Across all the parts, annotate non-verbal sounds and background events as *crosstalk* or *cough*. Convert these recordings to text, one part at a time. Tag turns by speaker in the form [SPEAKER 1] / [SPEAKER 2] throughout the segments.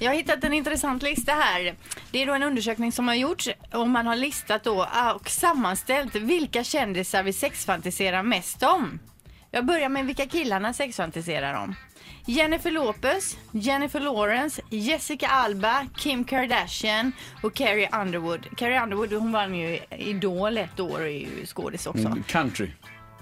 [SPEAKER 1] Jag har hittat en intressant lista här. Det är då en undersökning som har gjorts och man har listat då ah, och sammanställt vilka kändisar vi sexfantiserar mest om. Jag börjar med vilka killarna sexfantiserar om. Jennifer Lopez, Jennifer Lawrence, Jessica Alba, Kim Kardashian och Carrie Underwood. Carrie Underwood hon vann ju Idol ett år och är ju skådis också.
[SPEAKER 2] Mm. Country.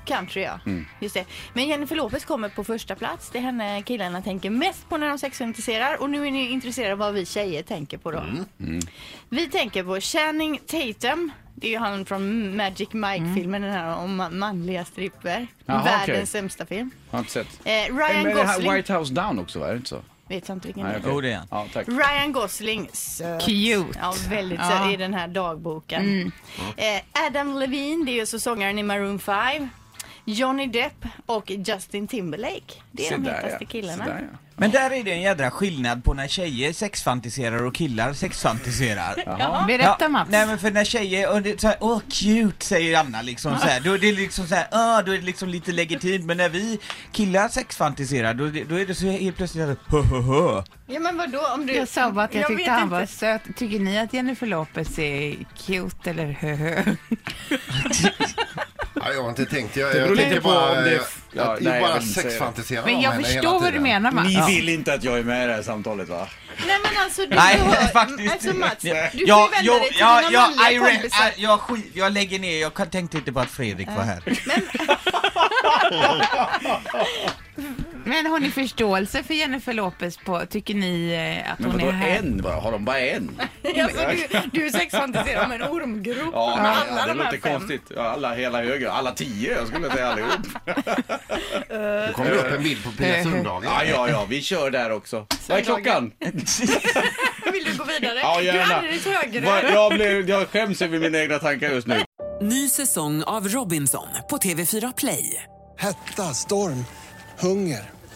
[SPEAKER 1] Country ja.
[SPEAKER 2] Mm.
[SPEAKER 1] Just det. Men Jennifer Lopez kommer på första plats. Det är henne killarna tänker mest på när de sexfantiserar. Och nu är ni intresserade av vad vi tjejer tänker på då.
[SPEAKER 2] Mm.
[SPEAKER 1] Vi tänker på Channing Tatum. Det är ju han från Magic Mike-filmen, den här om ma- manliga stripper.
[SPEAKER 2] Mm. Jaha,
[SPEAKER 1] Världens
[SPEAKER 2] okej.
[SPEAKER 1] sämsta film.
[SPEAKER 2] Har inte sett.
[SPEAKER 1] Eh, Ryan
[SPEAKER 2] Men det här
[SPEAKER 1] Gosling.
[SPEAKER 2] White House Down också, va? Är det inte så?
[SPEAKER 1] Vet jag inte vilken det
[SPEAKER 2] Nej,
[SPEAKER 1] är.
[SPEAKER 2] okej.
[SPEAKER 3] Jo, det är han.
[SPEAKER 2] Ja, tack.
[SPEAKER 1] Ryan Gosling. Söt.
[SPEAKER 4] Cute.
[SPEAKER 1] Ja, väldigt
[SPEAKER 4] Ja. Mm.
[SPEAKER 1] söt i den här dagboken. Eh, Adam Levine, det är ju så sångaren i Maroon 5. Johnny Depp och Justin Timberlake. Det är
[SPEAKER 2] Se
[SPEAKER 1] de
[SPEAKER 2] där,
[SPEAKER 1] hetaste
[SPEAKER 2] ja.
[SPEAKER 1] killarna.
[SPEAKER 2] Se där, ja.
[SPEAKER 3] Men där är det en jädra skillnad på när tjejer sexfantiserar och killar sexfantiserar.
[SPEAKER 4] Berätta Mats.
[SPEAKER 3] Nej men för när tjejer, och det, så här, åh cute säger Anna liksom så här. då är det liksom så här, åh, då är det liksom lite legitimt, men när vi killar sexfantiserar, då, är det- då är det så helt plötsligt så här, hö, hö, hö.
[SPEAKER 1] Ja men vadå om du...
[SPEAKER 4] Jag sa bara att jag,
[SPEAKER 1] Jag
[SPEAKER 4] tyckte
[SPEAKER 1] vet
[SPEAKER 4] han
[SPEAKER 1] inte.
[SPEAKER 4] var söt. Tycker ni att Jennifer Lopez är cute eller höhö?
[SPEAKER 5] Ja, jag har inte tänkt. Jag,
[SPEAKER 2] beror
[SPEAKER 5] jag
[SPEAKER 2] lite
[SPEAKER 5] tänker
[SPEAKER 2] på
[SPEAKER 5] bara...
[SPEAKER 2] om det-
[SPEAKER 5] jag-
[SPEAKER 2] Ja,
[SPEAKER 5] jag-
[SPEAKER 2] nej,
[SPEAKER 5] jag
[SPEAKER 2] jag
[SPEAKER 5] bara
[SPEAKER 2] vill inte säga det.
[SPEAKER 5] sexfantiserar
[SPEAKER 4] Men
[SPEAKER 5] om
[SPEAKER 4] jag
[SPEAKER 5] henne hela
[SPEAKER 4] förstår vad du
[SPEAKER 5] tiden.
[SPEAKER 4] menar Mats.
[SPEAKER 2] Ni vill inte att jag är med i det här samtalet, va?
[SPEAKER 1] Nej men alltså du
[SPEAKER 3] Nej,
[SPEAKER 1] hör...
[SPEAKER 3] faktiskt
[SPEAKER 1] Alltså Mats, du får ju
[SPEAKER 3] Ja,
[SPEAKER 1] vända
[SPEAKER 3] jo,
[SPEAKER 1] dig till
[SPEAKER 3] ja,
[SPEAKER 1] dina
[SPEAKER 3] ja,
[SPEAKER 1] manliga
[SPEAKER 3] I re-
[SPEAKER 1] kompisar.
[SPEAKER 3] I- jag, skit- jag lägger ner, jag kan- tänkte inte på att Fredrik var här.
[SPEAKER 4] Men har ni förståelse för Jennifer Lopez på, tycker ni eh, att
[SPEAKER 2] Men
[SPEAKER 4] hon
[SPEAKER 2] vadå
[SPEAKER 4] är här?
[SPEAKER 2] en bara? Har de
[SPEAKER 1] *laughs*
[SPEAKER 2] bara en?
[SPEAKER 1] Alltså, du, du sexfantiserar om en ormgrop med
[SPEAKER 2] Ja, men,
[SPEAKER 1] alla
[SPEAKER 2] ja, det
[SPEAKER 1] de här
[SPEAKER 2] låter
[SPEAKER 1] fem.
[SPEAKER 2] konstigt. Ja, Alla hela höger, alla tio, jag skulle
[SPEAKER 1] *laughs*
[SPEAKER 2] säga allihop.
[SPEAKER 5] Nu kommer det upp en bild på Pia Sundhage.
[SPEAKER 2] Ja, ja, ja, vi kör där också. Vad
[SPEAKER 1] *laughs*
[SPEAKER 2] är klockan?
[SPEAKER 1] Vill du gå vidare?
[SPEAKER 2] Ja,
[SPEAKER 1] Du är
[SPEAKER 2] gärna.
[SPEAKER 1] alldeles högröd.
[SPEAKER 2] Vad- Jag, blev, jag skäms över mina egna tankar just nu.
[SPEAKER 6] Ny säsong av Robinson på TV4 Play.
[SPEAKER 7] Hetta, storm, hunger.